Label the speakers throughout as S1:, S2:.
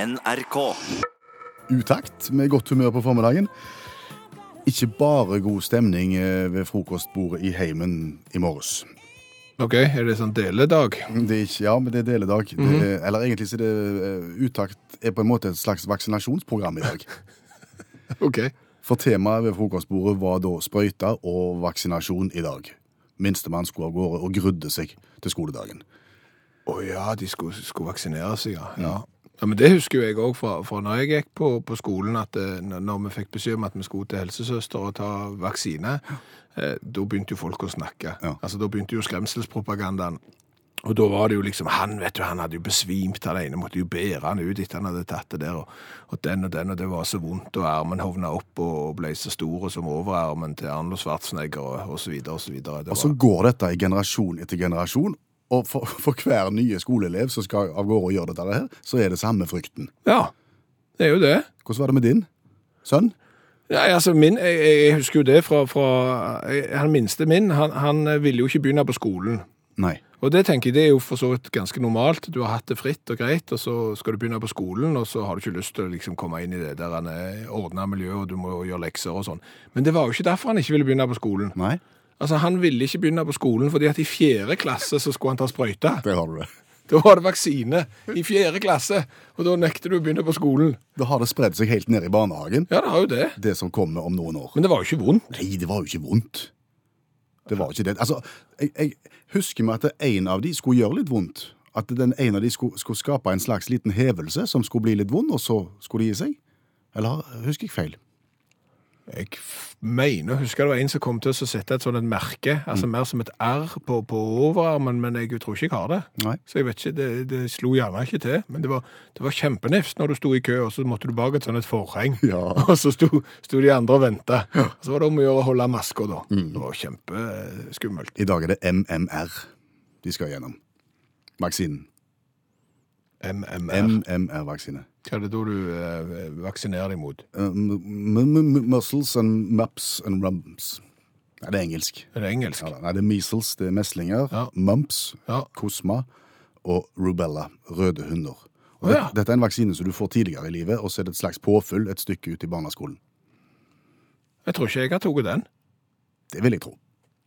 S1: NRK.
S2: utakt med godt humør på formiddagen. Ikke bare god stemning eh, ved frokostbordet i heimen i morges.
S3: Ok, er det sånn deledag?
S2: Det er ikke, ja, men det er deledag. det er, eller egentlig så er det eh, utakt er på en måte et slags vaksinasjonsprogram i dag.
S3: Ok.
S2: For temaet ved frokostbordet var da sprøyter og vaksinasjon i dag. Minstemann skulle av gårde og grudde seg til skoledagen.
S3: Å ja, de skulle, skulle vaksinere seg, ja. ja.
S2: Mm.
S3: Ja, men Det husker jo jeg òg fra, fra når jeg gikk på, på skolen, at eh, n- når vi fikk beskjed om at vi skulle til helsesøster og ta vaksine, eh, da begynte jo folk å snakke.
S2: Ja.
S3: Altså, Da begynte jo skremselspropagandaen. Og da var det jo liksom Han vet du, han hadde jo besvimt, han ene måtte jo bære han ut etter han hadde tatt det der. Og, og den og den, og det var så vondt, og armen hovna opp og, og ble så stor som overarmen til Arnold Schwarzenegger og, og så videre og så videre. Det
S2: Og så
S3: var-
S2: går dette i generasjon etter generasjon, og for, for hver nye skoleelev som skal av gårde og gjøre dette her, så er det samme frykten.
S3: Ja, det er jo det.
S2: Hvordan var det med din sønn?
S3: Nei, altså min, jeg, jeg jeg husker jo det fra, fra jeg- han minste min, han, han eh, ville jo ikke begynne på skolen.
S2: Nei.
S3: Og det tenker jeg, det er jo for så vidt ganske normalt. Du har hatt det fritt og greit, og så skal du begynne på skolen, og så har du ikke lyst til å liksom komme inn i det der han er ordnet miljø, og du må jo gjøre lekser og sånn. Men det var jo ikke derfor han ikke ville begynne på skolen.
S2: Nei,
S3: Altså, han ville ikke begynne på skolen, fordi at i fjerde klasse så skulle han ta sprøyte.
S2: der har du det.
S3: Da var det vaksine i fjerde klasse, og da nekter du å begynne på skolen.
S2: Da har det spredd seg helt ned i barnehagen,
S3: Ja, det har jo det.
S2: det som kommer om noen år.
S3: Men det var jo ikke vondt.
S2: Nei, det var jo ikke vondt. Det var ikke det. Altså, jeg, jeg husker meg at en av de skulle gjøre litt vondt. At den ene av de skulle, skulle skape en slags liten hevelse som skulle bli litt vond, og så skulle de gi seg. Eller husker jeg feil?
S3: Jeg f- mener, husker det var en som kom til å sette et sånt et merke,
S2: Mm.
S3: altså mer som et R på, på overarmen, men jeg tror ikke jeg har det.
S2: Nei.
S3: Så jeg vet ikke, det, det slo gjerne ikke til, men det var, det var kjempenefst når du sto i kø, og så måtte du bak et sånt et forheng,
S2: Ja.
S3: og så sto, sto de andre og ventet. Så var det om å gjøre å holde masker da.
S2: Mm.
S3: Det var eh, kjempeskummelt.
S2: I dag er det MMR de skal gjennom. Vaksinen.
S3: MMR.
S2: MMR-vaksine.
S3: Hva er det da du eh, vaksinerer deg mot?
S2: Uh, m- m- m- muscles and maps and rumps. Nei, det er engelsk.
S3: Er det engelsk?
S2: Ja, da. nei, det er measles, det er meslinger,
S3: Ja.
S2: mumps,
S3: Ja.
S2: kosma og rubella, røde hunder. Og
S3: Å, ja.
S2: det- Dette er en vaksine som du får tidligere i livet, og så er det et slags påfyll et stykke ut i barneskolen.
S3: Jeg tror ikke jeg har toget den.
S2: Det vil jeg tro.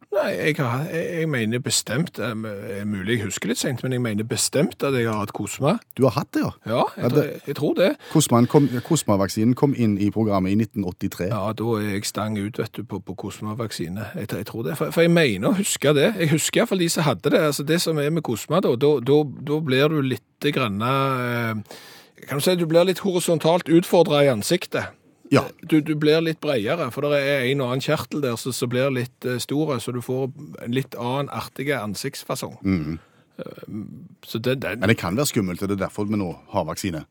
S3: Nei, jeg, har, jeg, jeg mener bestemt eh, m- Mulig jeg husker litt sent, men jeg mener bestemt at jeg har hatt kosma.
S2: Du har hatt det, ja.
S3: Ja, jeg,
S2: Ja,
S3: tror,
S2: det-
S3: jeg, tror det.
S2: Kosmaen kom- Kosma-vaksinen kom inn i programmet i 1983.
S3: Ja, da er jeg stang ut, vet du, på, på kosmavaksine. Jeg, jeg tror det. For, for jeg mener å huske det. Jeg husker iallfall de som hadde det. Altså, det som er med kosma, da, da, da, da blir du litt grann eh, Kan du si du blir litt horisontalt utfordra i ansiktet.
S2: Ja.
S3: Du, du blir litt bredere, for det er en og annen kjertel der som som blir litt eh, store, så du får en litt annen artige ansiktsfasong. Eh, Så det, det,
S2: Men det kan være skummelt, og det er derfor vi nå har vaksine.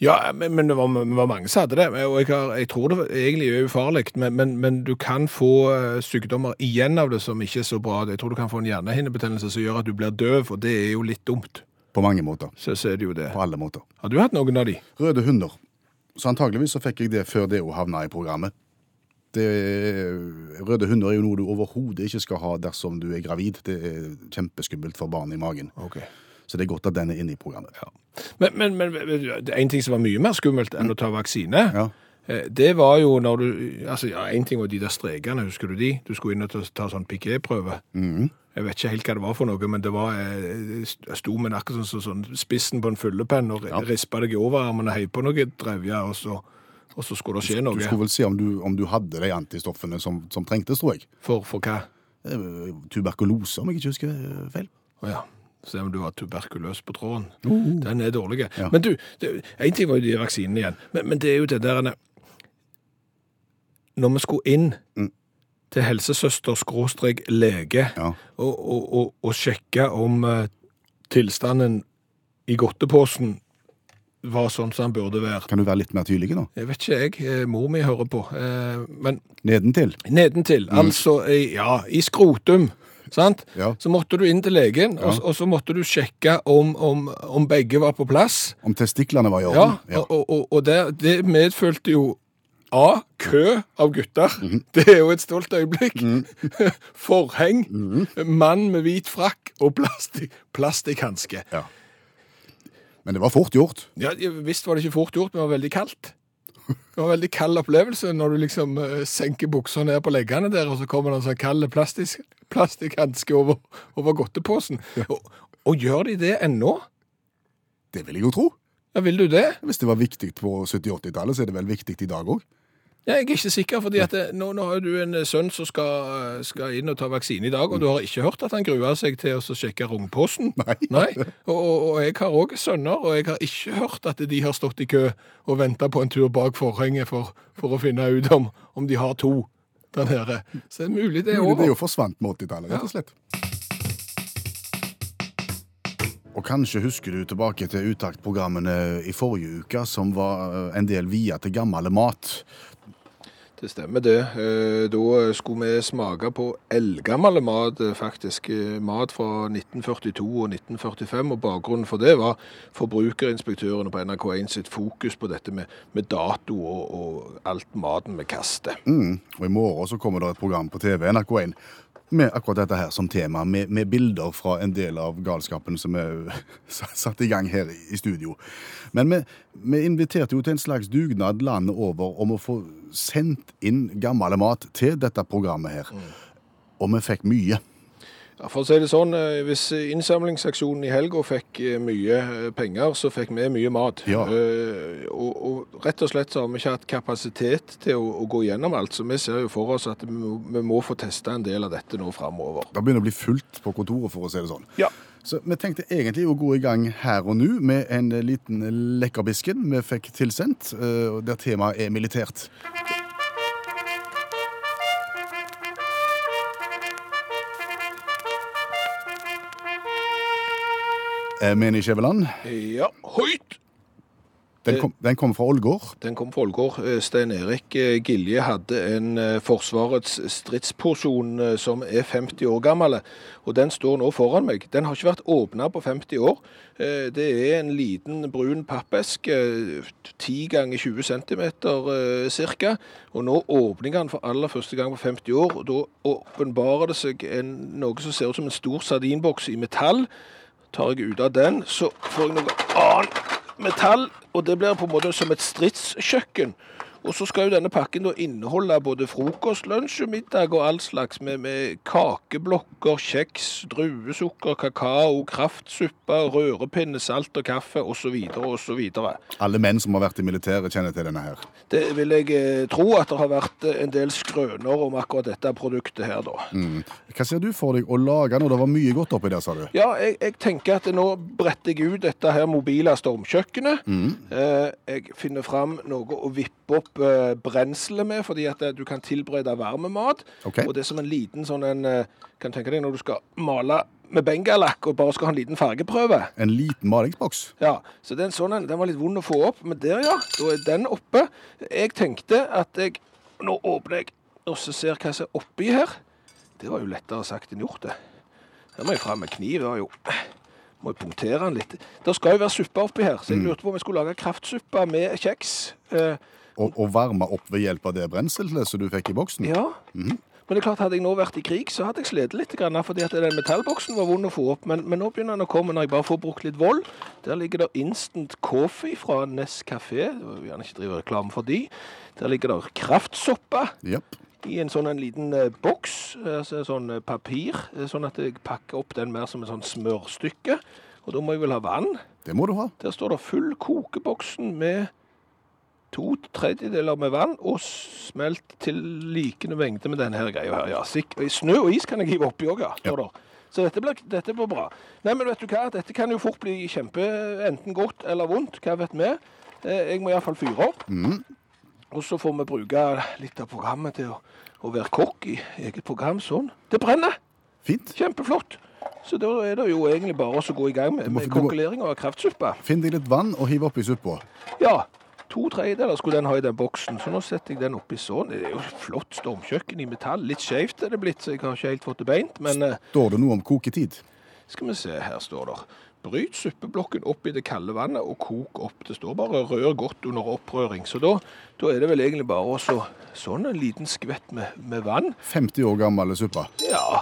S3: Ja, men, men det, var, det var mange som hadde det. Og jeg, har, jeg tror det egentlig er ufarlig, men, men, men du kan få eh, sykdommer igjen av det som ikke er så bra. Jeg tror du kan få en hjernehinnebetennelse som gjør at du blir døv, og det er jo litt dumt.
S2: På mange måter.
S3: Så, så er det jo det.
S2: På alle måter.
S3: Har du hatt noen av de?
S2: Røde hunder. Så antageligvis så fikk jeg det før det å havna i programmet. Det, røde hunder er jo noe du overhodet ikke skal ha dersom du er gravid. Det er kjempeskummelt for barn i magen.
S3: Ok.
S2: Så det er godt at den er inne i programmet.
S3: Men, men, men det er en ting som var mye mer skummelt enn å ta vaksine,
S2: Ja.
S3: Eh, det var jo når du Altså, ja, en ting var de der strekene, husker du de? Du skulle inn og ta, ta sånn piqué-prøve.
S2: Mm.
S3: Jeg vet ikke helt hva det var for noe, men det var eh, Jeg sto med akkurat sånn, sånn, sånn spissen på en fyllepenn og
S2: Ja.
S3: rispa deg i overarmen og heiv på noe drevje, og så, og så skulle det skje
S2: Du
S3: noe.
S2: skulle vel se om du, om du hadde de antistoffene som, som trengtes, tror jeg.
S3: For, for hva?
S2: Eh, Tuberkulose, om jeg ikke husker eh, feil.
S3: Å ja. Se om du var tuberkuløs på tråden. Den er dårlig.
S2: Ja.
S3: Men du, det, en ting var jo de vaksinene igjen, men, men det er jo det der Når vi skulle inn
S2: Mm.
S3: til helsesøster-lege
S2: Ja.
S3: og, og, og, og sjekke om eh, tilstanden i godteposen var sånn som den burde være
S2: Kan du være litt mer tydelig nå?
S3: Jeg vet ikke, jeg. eh, Mor mi hører på. eh, Men
S2: Nedentil.
S3: Nedentil, altså i, ja, i skrotum. Sant?
S2: Mm. Ja.
S3: Så måtte du inn til legen, og,
S2: Ja.
S3: og så måtte du sjekke om, om, om begge var på plass.
S2: Om testiklene var i
S3: Ja,
S2: orden?
S3: og, og, og, og det, det medfølte jo A. Kø av gutter. Det er jo et stolt øyeblikk. Forheng. Mann med hvit frakk og plastikk, plastikkhanske.
S2: Ja. Men det var fort gjort.
S3: Ja, Visst var det ikke fort gjort, men det var veldig kaldt. Det var en veldig kald opplevelse når du liksom eh, senker buksa ned på leggene der, og så kommer det en sånn kald plastisk- plastikkhanske over, over godteposen. Og, og gjør de det ennå?
S2: Det vil jeg jo tro.
S3: Ja, vil du det?
S2: Hvis det var viktig på 70-80-tallet, så er det vel viktig i dag òg.
S3: Ja, jeg er ikke sikker, fordi at det, nå, nå har du en eh, sønn som skal, eh, skal inn og ta vaksine i dag, og du har ikke hørt at han gruer seg til å så sjekke rungposten.
S2: Nei.
S3: Og, og, og jeg har òg sønner, og jeg har ikke hørt at de har stått i kø og venta på en tur bak forhenget for, for å finne ut om, om de har to der nede. Så det er mulig det er
S2: Mulig det
S3: over.
S2: jo forsvant med 80-tallet, rett og slett. Og kanskje husker du tilbake til uttaktprogrammene i forrige uke, som var eh, en del via til gammel mat.
S3: Det stemmer det. Eh, Da skulle vi smake på eldgammel mat, eh, faktisk. eh, Mat fra 1942 og 1945, og bakgrunnen for det var forbrukerinspektørene på NRK1 sitt fokus på dette med, med dato og, og alt maten vi kaster.
S2: Mm. Og i morgen så kommer det et program på TV, NRK1, med akkurat dette her som tema, med, med bilder fra en del av galskapen som er satt i gang her i studio. Men vi, vi inviterte jo til en slags dugnad landet over om å få sendt inn gammel mat til dette programmet her.
S3: Mm.
S2: Og vi fikk mye.
S3: Ja, For å si det sånn, eh, hvis innsamlingsaksjonen i helga fikk eh, mye eh, penger, så fikk vi mye mat.
S2: Ja.
S3: Eh, Og, og rett og slett så har vi ikke hatt kapasitet til å, å gå gjennom alt, så vi ser jo for oss at vi må, vi må få testa en del av dette nå framover.
S2: Det begynner å bli fullt på kontoret, for å si det sånn.
S3: Ja.
S2: Så vi tenkte egentlig å gå i gang her og nå med en liten lekkerbisken vi fikk tilsendt, eh, og der temaet er militært. Eh, Meni Skjæveland,
S3: Ja, høyt!
S2: den, kom- den kom fra Ålgård.
S3: Den kom fra Ålgård. Eh, Stein Erik eh, Gilje hadde en eh, Forsvarets stridsporsjon eh, som er 50 år gammel, og den står nå foran meg. Den har ikke vært åpna på 50 år. Eh, Det er en liten brun pappeske, eh, 10 ganger 20 cm ca. Og nå åpner jeg den for aller første gang på 50 år. og Da åpenbarer det seg en, noe som ser ut som en stor sardinboks i metall. Tar jeg ut av den, så får jeg noe annet metall, og det blir på en måte som et stridskjøkken. Og så skal jo denne pakken da inneholde både frokost, lunsj og middag og all slags med, med kakeblokker, kjeks, druesukker, kakao, kraftsuppe, rørepinne, salt og kaffe osv. osv.
S2: Alle menn som har vært i militæret, kjenner til denne her.
S3: Det vil jeg eh, tro at det har vært eh, en del skrøner om akkurat dette produktet her, da.
S2: Mm. Hva ser du for deg å lage nå? Det var mye godt oppi der, sa du.
S3: Ja, jeg, jeg tenker at nå bretter jeg ut dette her mobile stormkjøkkenet.
S2: Mm,
S3: Eh, jeg finner fram noe å vippe opp eh, brenselet med, fordi at eh, du kan tilberede varme mat.
S2: Ok.
S3: Og det er som en liten sånn en eh, Kan tenke deg når du skal male med bengalakk og bare skal ha en liten fargeprøve.
S2: En liten malingsboks.
S3: Ja, så den, sånn, en, den var litt vond å få opp, men der ja, da er den oppe. Jeg tenkte at jeg, nå åpner jeg, og så ser jeg hva som er oppi her. Det var jo lettere sagt enn gjort det. Her må jeg frem med kniv, da jo. Må jeg punktere den litt. Det skal jo være suppe oppi her, så jeg lurte på om jeg skulle lage kraftsuppe med kjeks. Eh,
S2: Og, og varme opp ved hjelp av det brenselet som du fikk i boksen.
S3: ja, men det er klart, hadde jeg nå vært i krig, så hadde jeg slitt litt, grann, fordi at den metallboksen var vond å få opp. Men, men nå begynner den å komme når jeg bare får brukt litt vold. Der ligger det instant coffee fra Ness Café. Jeg vil gjerne ikke drive reklame for de. Der ligger det kraftsoppe
S2: Japp.
S3: i en sånn en liten eh, boks, eh, altså sånn eh, papir, eh, sånn at jeg pakker opp den mer som en sånn smørstykke. Og da må jeg vel ha vann.
S2: Det må du ha.
S3: Der står det full kokeboksen med to tredjedeler med vann og smelt til likende mengde med denne her greia her. Ja, sikk- og Snø og is kan jeg hive oppi òg, ja. står der. Så dette blir, dette blir bra. Nei, men vet du hva? Dette kan jo fort bli kjempe enten godt eller vondt. Hva vet vi? Eh, Jeg må iallfall fyre opp. Og så får vi bruke litt av programmet til å, å være kokk i eget program. Sånn. Det brenner!
S2: Fint.
S3: Kjempeflott! Så da er det jo egentlig bare å gå i gang med,
S2: må-
S3: med
S2: du må-
S3: kokkeleringa av kraftsuppe.
S2: Finn deg litt vann og hiv oppi suppa.
S3: Ja, to tredjedeler skulle den ha i den boksen, så nå setter jeg den oppi sånn. Det er jo et flott stormkjøkken i metall. Litt skjevt er det blitt, så jeg har ikke helt fått det beint, men eh,
S2: Står det noe om koketid?
S3: skal vi se, her står det. Bryt suppeblokken opp i det kalde vannet og kok opp. Det står bare rør godt under opprøring, så da, da er det vel egentlig bare å så- sånn en liten skvett med, med vann.
S2: 50 år gammel suppe.
S3: Ja,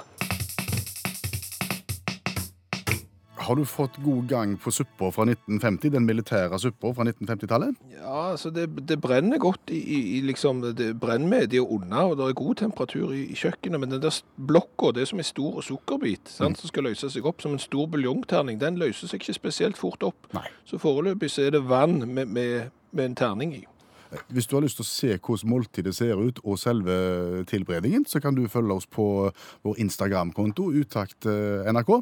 S2: Har du fått god gang på suppa fra 1950, den militære suppa fra 1950-tallet?
S3: Ja, altså det, det brenner godt i, i, i liksom, det brennmediet under, og det er god temperatur i, i kjøkkenet, men den der blokka, det er som en stor sukkerbit sant, som skal løse seg opp, som en stor buljongterning, den løser seg ikke spesielt fort opp.
S2: Nei.
S3: Så foreløpig så er det vann med, med, med en terning i.
S2: Hvis du har lyst til å se hvordan måltidet ser ut, og selve tilberedningen, så kan du følge oss på vår Instagram-konto, utakt eh, NRK.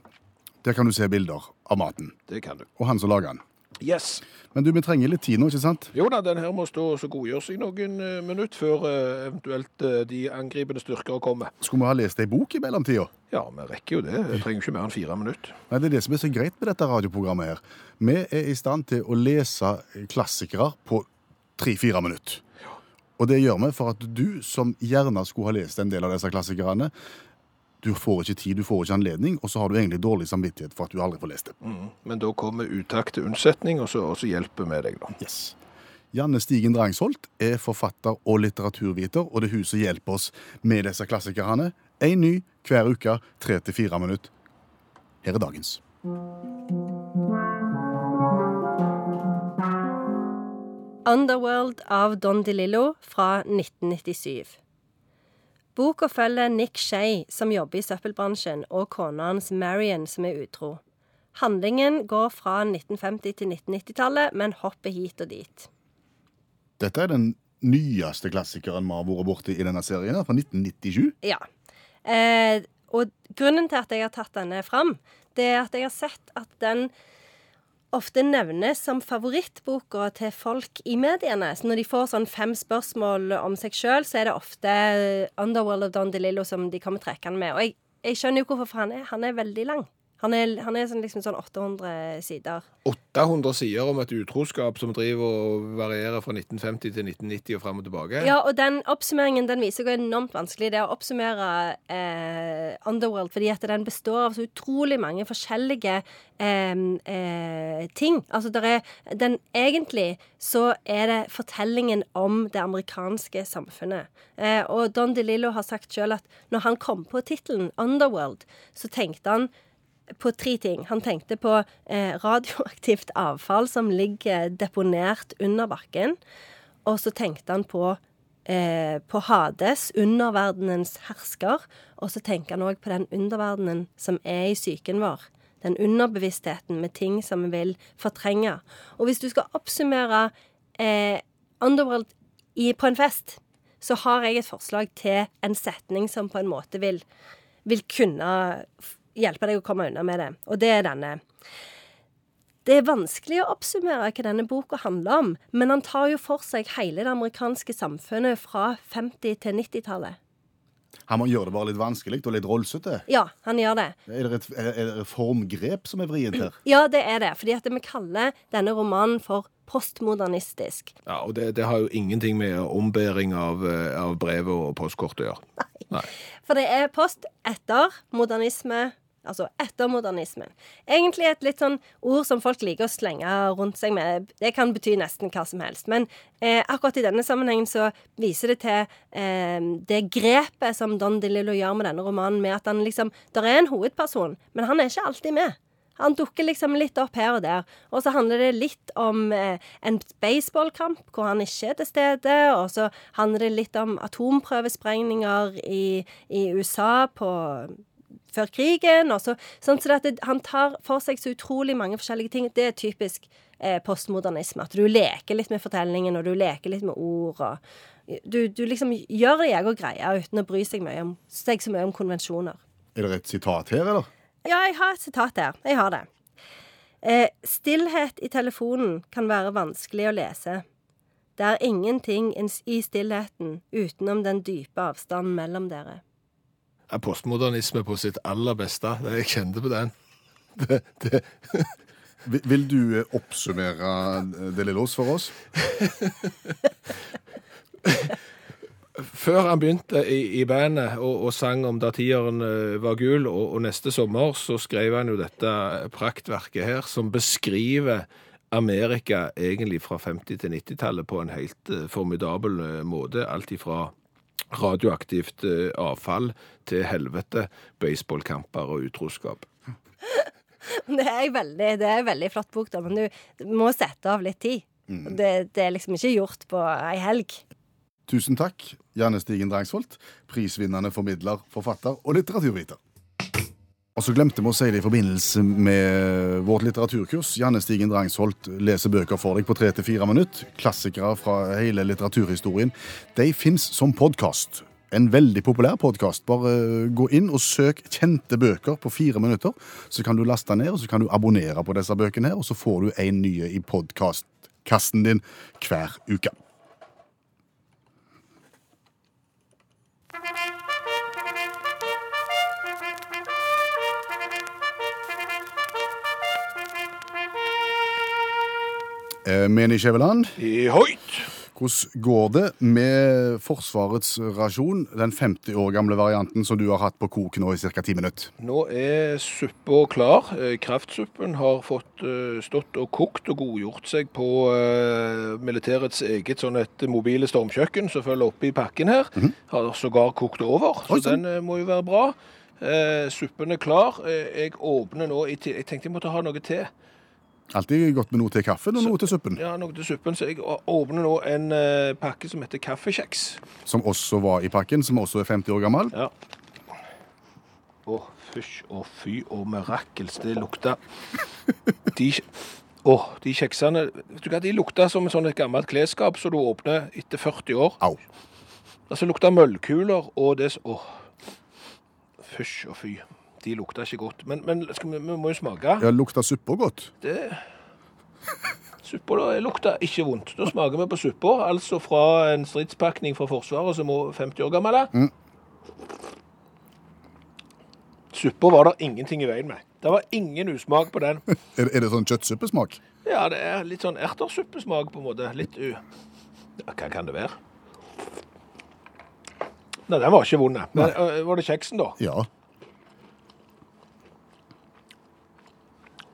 S2: Der kan du se bilder av maten,
S3: Det kan du.
S2: og han som lager den.
S3: Yes!
S2: Men du, vi trenger litt tid nå, ikke sant?
S3: Jo da, den her må stå og godgjøre seg noen eh, minutt før eh, eventuelt eh, de angripende styrker kommer.
S2: Skulle vi ha lest ei bok i mellomtida?
S3: Ja, vi rekker jo det. Jeg trenger ikke mer enn fire minutter.
S2: Nei, Det er det som er så greit med dette radioprogrammet. her. Vi er i stand til å lese klassikere på tre-fire minutter. Og det gjør vi for at du, som gjerne skulle ha lest en del av disse klassikerne, du får ikke tid, du får ikke anledning, og så har du egentlig dårlig samvittighet for at du aldri får lest det.
S3: Men da kommer utakt til unnsetning, og så, og så hjelper vi deg, da.
S2: Yes. Janne Stigen Drangsholt er forfatter og litteraturviter, og det er hun som hjelper oss med disse klassikerne. Én ny hver uke, tre til fire minutter. Her er dagens.
S1: Underworld av Don DeLillo fra 1997. Boka følger Nick Shay, som jobber i søppelbransjen, og kona hans Marion, som er utro. Handlingen går fra 1950- til 1990-tallet, men hopper hit og dit.
S2: Dette er den nyeste klassikeren vi har vært borti i denne serien, her, fra 1997.
S1: Ja. Eh, og grunnen til at jeg har tatt denne fram, det er at jeg har sett at den ofte nevnes som favorittboka til folk i mediene. Så når de får sånn fem spørsmål om seg sjøl, så er det ofte Underworld of Don DeLillo som de kommer trekkende med. Og jeg, jeg skjønner jo hvorfor, for han er, han er veldig lang. Han er, han er sånn, liksom sånn 800 sider.
S3: 800 sider om et utroskap som driver og varierer fra 1950 til 1990 og fram og tilbake.
S1: Ja, og den oppsummeringen den viser hvor enormt vanskelig det er å oppsummere eh, Underworld, fordi at den består av så utrolig mange forskjellige eh, eh, ting. Altså, der er, den, egentlig så er det fortellingen om det amerikanske samfunnet. Eh, og Don DeLillo har sagt sjøl at når han kom på tittelen Underworld, så tenkte han på tre ting. Han tenkte på eh, radioaktivt avfall som ligger deponert under bakken. Og så tenkte han på, eh, på Hades, underverdenens hersker. Og så tenker han òg på den underverdenen som er i psyken vår. Den underbevisstheten med ting som vi vil fortrenge. Og hvis du skal oppsummere eh, Underworld i, på en fest, så har jeg et forslag til en setning som på en måte vil, vil kunne f- hjelpe deg å komme unna med det. Og det er denne. Det er vanskelig å oppsummere hva denne boka handler om, men han tar jo for seg hele det amerikanske samfunnet fra 50- til 90-tallet.
S2: Han må gjøre det bare litt vanskelig og litt rollsete.
S1: Ja, han gjør det.
S2: Er det et, er er det et formgrep som er vrient her?
S1: Ja, det er det, fordi at vi kaller denne romanen for postmodernistisk.
S3: Ja, og det, det har jo ingenting med ombæring av, eh, av brevet og postkort å gjøre. Nei.
S1: For det er post etter modernisme, altså etter modernismen. Egentlig et litt sånn ord som folk liker å slenge rundt seg med. Det kan bety nesten hva som helst. Men eh, akkurat i denne sammenhengen så viser det til eh, det grepet som Don DeLillo gjør med denne romanen, med at han liksom Der er en hovedperson, men han er ikke alltid med. Han dukker liksom litt opp her og der. Og så handler det litt om eh, en baseballkamp hvor han ikke er til stede. Og så handler det litt om atomprøvesprengninger i, i USA på før krigen. Og så, sånn så at det, han tar for seg så utrolig mange forskjellige ting. Det er typisk eh, postmodernisme. At du leker litt med fortellingen, og du leker litt med ord. og Du, du liksom gjør det jeg og greia uten å bry seg, mye om, seg så mye om konvensjoner.
S2: Er det et sitat her, eller?
S1: Ja, jeg har et sitat der. Jeg har det. Eh, stillhet i telefonen kan være vanskelig å lese. Det er ingenting ins- i stillheten utenom den dype avstanden mellom dere.
S3: Er postmodernisme på sitt aller beste. Jeg kjente på den. Det, det,
S2: Vil, vil du eh, oppsummere eh, det lille oss for oss?
S3: Før han begynte i, i bandet og, og sang om da tieren eh, var gul, og, og neste sommer, så skrev han jo dette praktverket her, som beskriver Amerika egentlig fra 50- til 90-tallet på en helt eh, formidabel eh, måte. Alt ifra radioaktivt eh, avfall til helvete, baseballkamper og utroskap.
S1: Det er, en veldig, det er en veldig flott bok, da, men du må sette av litt tid. Det, det er liksom ikke gjort på ei helg.
S2: Tusen takk, Janne Stigen Drangsvold, prisvinnende formidler, forfatter og litteraturviter. Og så glemte vi å si det i forbindelse med vårt litteraturkurs. Janne Stigen Drangsholt leser bøker for deg på tre til fire minutter. Klassikere fra hele litteraturhistorien. De fins som podkast. En veldig populær podkast. Bare gå inn og søk kjente bøker på fire minutter. Så kan du laste ned, og så kan du abonnere på disse bøkene, her, og så får du en ny i podkastkassen din hver uke. Eh, Meni Skjæveland,
S3: I høyt!
S2: hvordan går det med Forsvarets rasjon, den 50 år gamle varianten som du har hatt på kok nå i ca. 10 minutter?
S3: Nå er suppa klar. Eh, Kraftsuppen har fått eh, stått og kokt og godgjort seg på eh, militærets eget sånn et mobile stormkjøkken som følger oppe i pakken her. Har sågar kokt over, så
S2: Oi, sann.
S3: den eh, må jo være bra. Eh, suppen er klar. Eh, jeg åpner nå i ti- Jeg tenkte jeg måtte ha noe til.
S2: Alltid godt med noe til kaffen og noe til suppen,
S3: Ja, noe til suppen, så jeg å- åpner nå en eh, pakke som heter kaffekjeks.
S2: som også var i pakken, som også er 50 år gammel.
S3: Ja. Å, fysj og fy og mirakels, det lukta De, å, de kjeksene Vet du hva, de lukta som en sånn et gammelt klesskap som du åpner etter 40 år.
S2: Au.
S3: Altså lukta møllkuler og det s- Å, fysj og fy. De lukta ikke godt. Men, men skal vi, vi må jo smake.
S2: Ja, lukta suppa godt?
S3: Det Suppa da lukta ikke vondt. Da smaker vi på suppa, altså fra en stridspakning fra Forsvaret som er 50 år gammel. Mm. Suppa var det ingenting i veien med. Det var ingen usmak på den.
S2: Er, er det sånn kjøttsuppesmak?
S3: Ja, det er litt sånn ertersuppesmak på en måte. Litt u... Ja, hva kan det være? Nei, den var ikke vond. nei. Men øh, var det kjeksen, da?
S2: Ja.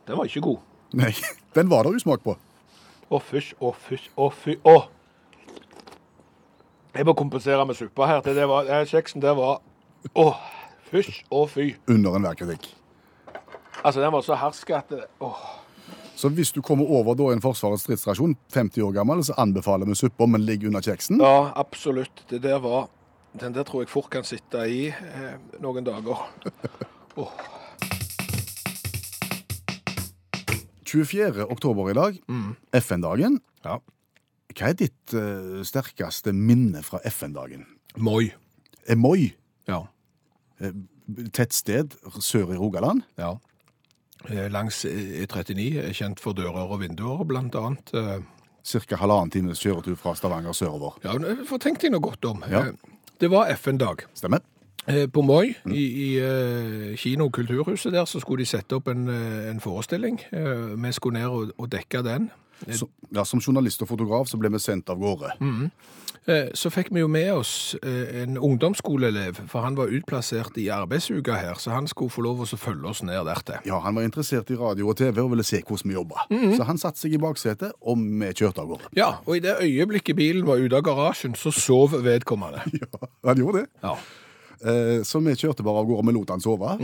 S3: Den var ikke god.
S2: Nei, den var det usmak på.
S3: Å, fysj, å, fysj, å, fy, å. Jeg må kompensere med suppa her. Det, det var, den kjeksen der var Å, fysj og fy.
S2: Under enhver kritikk.
S3: Altså, den var så hersk at det- åh.
S2: Så hvis du kommer over da en Forsvarets stridsrasjon, 50 år gammel, så anbefaler vi suppa, men ligg under kjeksen.
S3: Ja, absolutt. Det der var Den der tror jeg fort kan sitte i eh, noen dager.
S2: 24. oktober i dag, FN-dagen.
S3: Ja.
S2: Hva er ditt eh, sterkeste minne fra FN-dagen?
S3: Moi.
S2: Moi,
S3: Ja.
S2: tettsted sør i Rogaland.
S3: ja. Eh, Langs E39, eh, kjent for dører og vinduer, blant annet. Eh,
S2: Cirka halvannen times kjøretur fra Stavanger sørover.
S3: Ja, tenk deg noe godt om.
S2: Ja. Eh,
S3: Det var FN-dag.
S2: Stemmer?
S3: Eh, På Moi, i, i eh, kino- og kulturhuset der, så skulle de sette opp en, eh, en forestilling. Eh, Vi skulle ned og, og dekke den.
S2: Så, ja, som journalist og fotograf så ble vi sendt av gårde.
S3: Eh, Så fikk vi jo med oss eh, en ungdomsskoleelev, for han var utplassert i arbeidsuka her, så han skulle få lov å så følge oss ned der til.
S2: Ja, Han var interessert i radio og TV og ville se hvordan vi jobba. Så han satte seg i baksetet, og vi kjørte av gårde.
S3: Ja, og i det øyeblikket bilen var ute av garasjen, så sov vedkommende.
S2: Ja, han gjorde det.
S3: Ja.
S2: Eh, så vi kjørte bare av gårde, og vi lot han sove.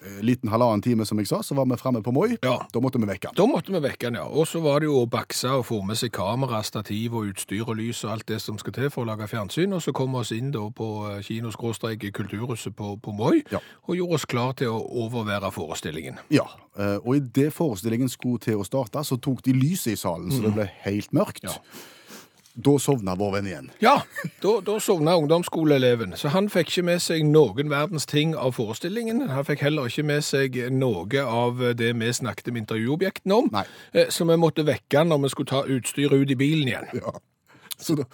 S2: Eh, Liten halvannen time, som jeg sa, så var vi framme på Moi.
S3: Ja.
S2: Da måtte vi vekke han.
S3: Da måtte vi vekke han, ja. Og så var det jo å bakse og få med seg kamera, stativ og utstyr og lys og alt det som skal til for å lage fjernsyn. Og så kom vi oss inn da på eh, kinoskråstrek i Kulturhuset på, på Moi
S2: Ja.
S3: og gjorde oss klar til å overvære forestillingen.
S2: Ja, eh, og idet forestillingen skulle til å starte, så tok de lyset i salen, så det ble helt mørkt.
S3: Ja.
S2: Da sovna vår venn igjen.
S3: Ja, da, da sovna ungdomsskoleeleven, så han fikk ikke med seg noen verdens ting av forestillingen. Han fikk heller ikke med seg noe av det vi snakket med intervjuobjektene om.
S2: Nei.
S3: Eh, Så vi måtte vekke han når vi skulle ta utstyret ut i bilen igjen.
S2: Ja. Så da,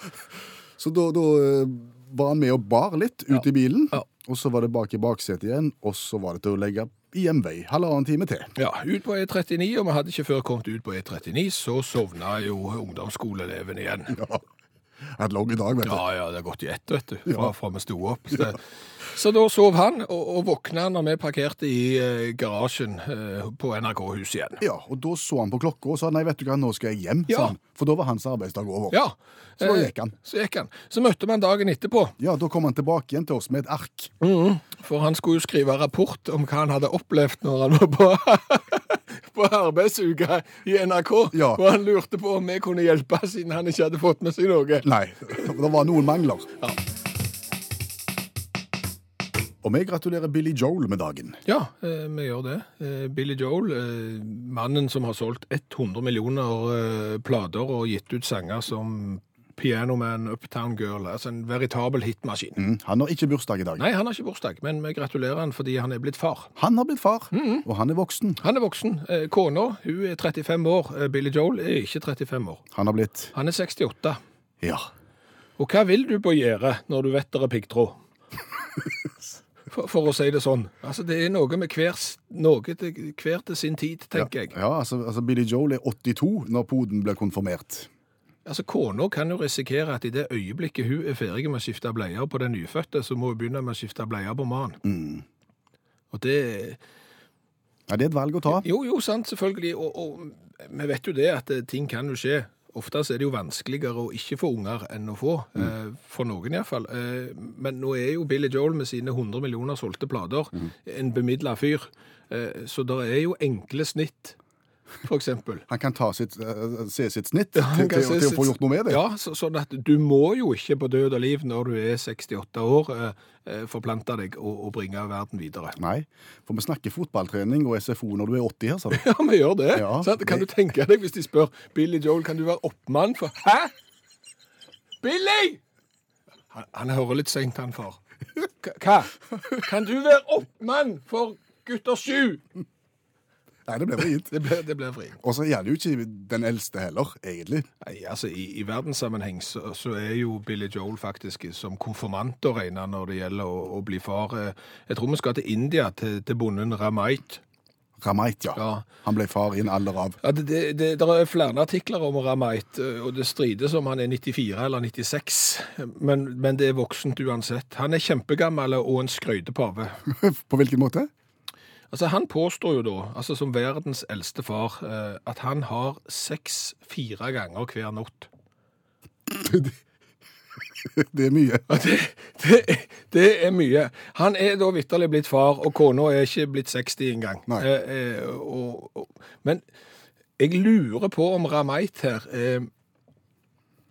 S2: så da, da eh, var han med og bar litt ut i bilen,
S3: Ja.
S2: og så var det bak i baksetet igjen, og så var det til å legge i hjemvei halvannen time til.
S3: Ja, ut på E39, og vi hadde ikke før kommet ut på E39, så sovna jo ungdomsskoleeleven igjen.
S2: Ja. En lang dag, vet du.
S3: Ja, ja, det har gått i ett, vet du, fra, fra vi sto opp. Så, Så da sov han, og, og våkna når vi parkerte i eh, garasjen eh, på NRK-huset igjen.
S2: Ja, og da så han på klokka og sa nei, vet du hva, nå skal jeg hjem,
S3: Ja.
S2: sa han. For da var hans arbeidsdag over.
S3: Ja.
S2: Så da
S3: eh,
S2: gikk han.
S3: Så gikk han. Så møtte man dagen etterpå,
S2: Ja, da kom han tilbake igjen til oss med et ark.
S3: for han skulle jo skrive rapport om hva han hadde opplevd når han var på, på arbeidsuka i NRK.
S2: Ja.
S3: Og han lurte på om vi kunne hjelpe, siden han ikke hadde fått med seg noe.
S2: Nei, det var noen mangler.
S3: Ja.
S2: Og vi gratulerer Billy Joel med dagen.
S3: Ja, eh, vi gjør det. Eh, Billy Joel, eh, mannen som har solgt 100 millioner eh, plater og gitt ut sanger som Piano Man, Uptown Girl, altså en veritabel hitmaskin.
S2: Mm, Han har ikke bursdag i dag.
S3: Nei, han har ikke bursdag, men vi gratulerer han fordi han er blitt far.
S2: Han har blitt far,
S3: Mm.
S2: og han er voksen.
S3: Han er voksen. Eh, Kona, hun er 35 år. Eh, Billy Joel er ikke 35 år.
S2: Han har blitt
S3: Han er 68.
S2: Ja.
S3: Og hva vil du på gjerdet når du vet det er piggtråd? For, for å si det sånn. Altså, det er noe med hver, s- noe til, hver til sin tid, tenker jeg.
S2: ja altså, altså Billy Joel er 82 når poden blir konfirmert.
S3: Altså, Kona kan jo risikere at i det øyeblikket hun er ferdig med å skifte bleier på den nyfødte, så må hun begynne med å skifte bleier på mannen.
S2: Mm.
S3: Og det
S2: Ja, det er et valg å ta.
S3: Jo, jo, sant, selvfølgelig. Og, og vi vet jo det at eh, ting kan jo skje. Ofte så er det jo vanskeligere å ikke få unger enn å få. Eh, for noen iallfall. Eh, men nå er jo Billy Joel med sine 100 millioner solgte plater en bemidla fyr. Eh, så det er jo enkle snitt, for eksempel.
S2: Han kan ta sitt, eh, se sitt snitt
S3: Han
S2: til,
S3: kan
S2: til,
S3: se
S2: til å
S3: sitt-
S2: få gjort noe med det.
S3: Ja, så, sånn at du må jo ikke på død og liv når du er 68 år eh, eh, forplante deg og, og bringe verden videre.
S2: Nei, for vi snakker fotballtrening og SFO når du er 80 her, sa du.
S3: Ja, vi gjør det.
S2: Ja,
S3: sant? Kan
S2: det-
S3: du tenke deg hvis de spør Billy Joel, kan du være oppmann for Hæ? Billy! Han, han hører litt seint, han far. K- Hva? Kan du være oppmann for gutter sju?
S2: Nei, det ble vrient.
S3: Det blir, det blir vrient.
S2: Og så er det jo ikke den eldste heller, egentlig.
S3: Nei, altså I, i verdenssammenheng så, så er jo Billy Joel faktisk som konfirmant å regne når det gjelder å, å bli far. Eh, Jeg tror vi skal til India, til, til bonden Ramait.
S2: Ramait, ja.
S3: Ja.
S2: Han ble far i en alder av
S3: Ja, det, det, det der er flere artikler om Ramait, eh, og det strides om han er 94 eller 96. Men, men det er voksent uansett. Han er kjempegammel og en skrøytepave.
S2: På hvilken måte?
S3: Altså, han påstår jo da, altså som verdens eldste far, eh, at han har sex fire ganger hver natt.
S2: Det er mye.
S3: Ja, det, det, er- det er mye. Han er da vitterlig blitt far, og kona er ikke blitt 60 engang.
S2: Nei.
S3: Eh, eh, og, og, men jeg lurer på om Ramait her eh,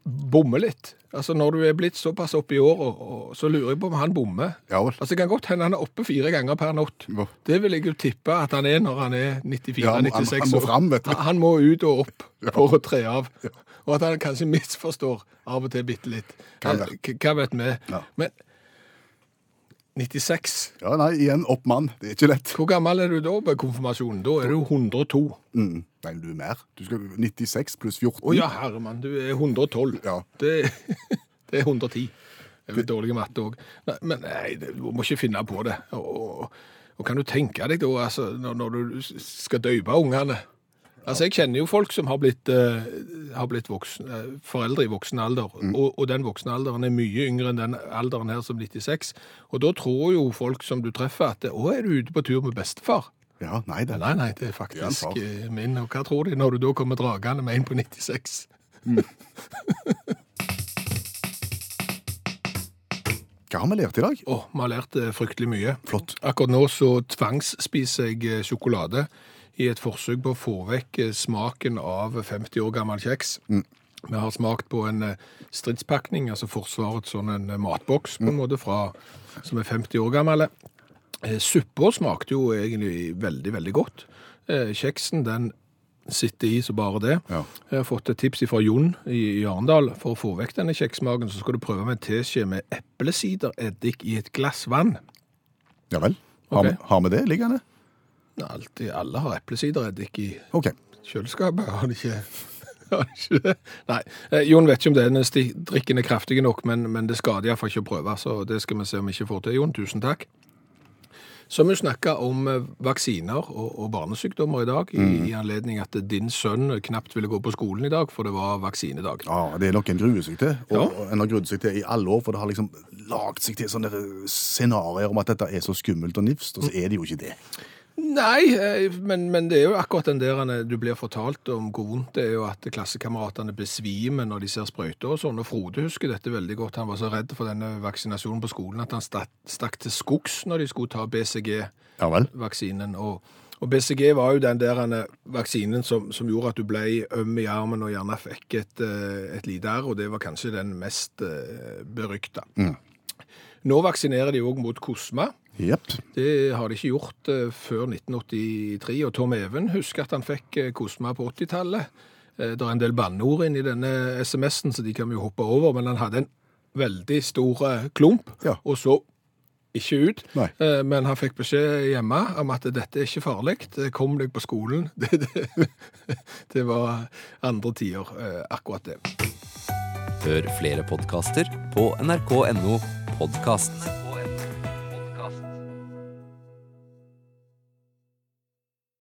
S3: bommer litt. Altså Når du er blitt såpass opp i åra, og- så lurer jeg på om han bommer.
S2: Ja vel.
S3: Altså Det kan godt hende han er oppe fire ganger per natt.
S2: Hva?
S3: Det vil jeg jo tippe at han er når han er 94-96
S2: Ja, han må- han- han må
S3: år.
S2: fram, vet du.
S3: Han- Han må ut og opp for å tre av. Og at han kanskje misforstår av og til bitte litt.
S2: Kan
S3: Eh,
S2: være.
S3: k- Hva vet vi?
S2: Ja.
S3: Men 96
S2: Ja, nei, igjen, opp mann. Det er ikke lett.
S3: Hvor gammel er du da på konfirmasjonen? Da er du 102.
S2: Mm. Nei, du er mer. Du skal 96 pluss 14.
S3: Å ja, herremann, du er 112.
S2: Ja.
S3: Det, det er 110. Jeg er dårlig i matte òg. Men nei, det- du må ikke finne på det. Og, og, og kan du tenke deg da, altså, når, når du s- skal døpe ungene Altså, Jeg kjenner jo folk som har blitt, eh, har blitt voksen, eh, foreldre i voksen alder,
S2: Mm.
S3: og, og den voksne alderen er mye yngre enn den alderen her som 96. Og da tror jo folk som du treffer at 'Å, er du ute på tur med bestefar?'
S2: Ja, nei, det er
S3: Nei, nei, det er
S2: Ja,
S3: faktisk
S2: far.
S3: eh, min. Og hva tror de når du da kommer dragende med en på 96?
S2: Hva har vi lært i dag?
S3: Å, vi har lært eh, fryktelig mye.
S2: Flott.
S3: Akkurat nå så tvangsspiser jeg eh, sjokolade i et forsøk på å få vekk eh, smaken av 50 år gammel kjeks. Vi har smakt på en eh, stridspakning, altså Forsvarets sånn en eh, matboks på en måte, fra, som er 50 år gammel. Eh, Suppa smakte jo egentlig veldig, veldig godt. Eh, Kjeksen, den sitter i så bare det.
S2: Ja.
S3: Jeg har fått et tips fra Jon i i Arendal. For å få vekk denne kjekssmaken, så skal du prøve med en teskje med eplesidereddik i et glass vann.
S2: Ja vel. Har,
S3: Ok.
S2: vi, har vi det liggende?
S3: Nei, Alltid, alle har eplesidereddik i
S2: OK.
S3: kjøleskapet, har de ikke? Har de ikke det? Nei. Eh, Jon vet ikke om denne sti- drikken er kraftig nok, men, men det skader iallfall ikke å prøve. Så det skal vi se om vi ikke får til. Jon, tusen takk. Så har vi jo snakka om eh, vaksiner og, og barnesykdommer i dag, i, i anledning at din sønn knapt ville gå på skolen i dag, for det var vaksinedag.
S2: Ja, Det er noe en gruer seg til, og
S3: Ja.
S2: og en har grudd seg til i alle år. For det har liksom lagd seg til sånne der scenarioer om at dette er så skummelt og nifst,
S3: Mm.
S2: og så er det jo ikke det.
S3: Nei, eh, men, men det er jo akkurat den der eh, du blir fortalt om hvor vondt det er jo at klassekameratene besvimer når de ser sprøyter og sånn. Og Frode husker dette veldig godt. Han var så redd for denne vaksinasjonen på skolen at han stakk, stakk til skogs når de skulle ta
S2: Ja
S3: BCG-vaksinen.
S2: vel?
S3: Og, og BCG var jo den der eh, vaksinen som, som gjorde at du ble øm i armen og gjerne fikk et, eh, et lite R, og det var kanskje den mest eh, berykta.
S2: Mm.
S3: Nå vaksinerer de òg mot kosma.
S2: Jepp.
S3: Det har de ikke gjort eh, før 1983, og Tom Even husker at han fikk eh, Kosma på 80-tallet. Eh, det er en del banneord inni denne SMS-en, så de kan vi jo hoppe over, men han hadde en veldig stor eh, klump,
S2: Ja.
S3: og så ikke ut.
S2: Nei.
S3: Eh, men han fikk beskjed hjemme om at dette er ikke farlig, Eh, kom deg på skolen. Det, det, det var andre tider, eh, akkurat det.
S4: Hør flere podkaster på nrk.no podkast.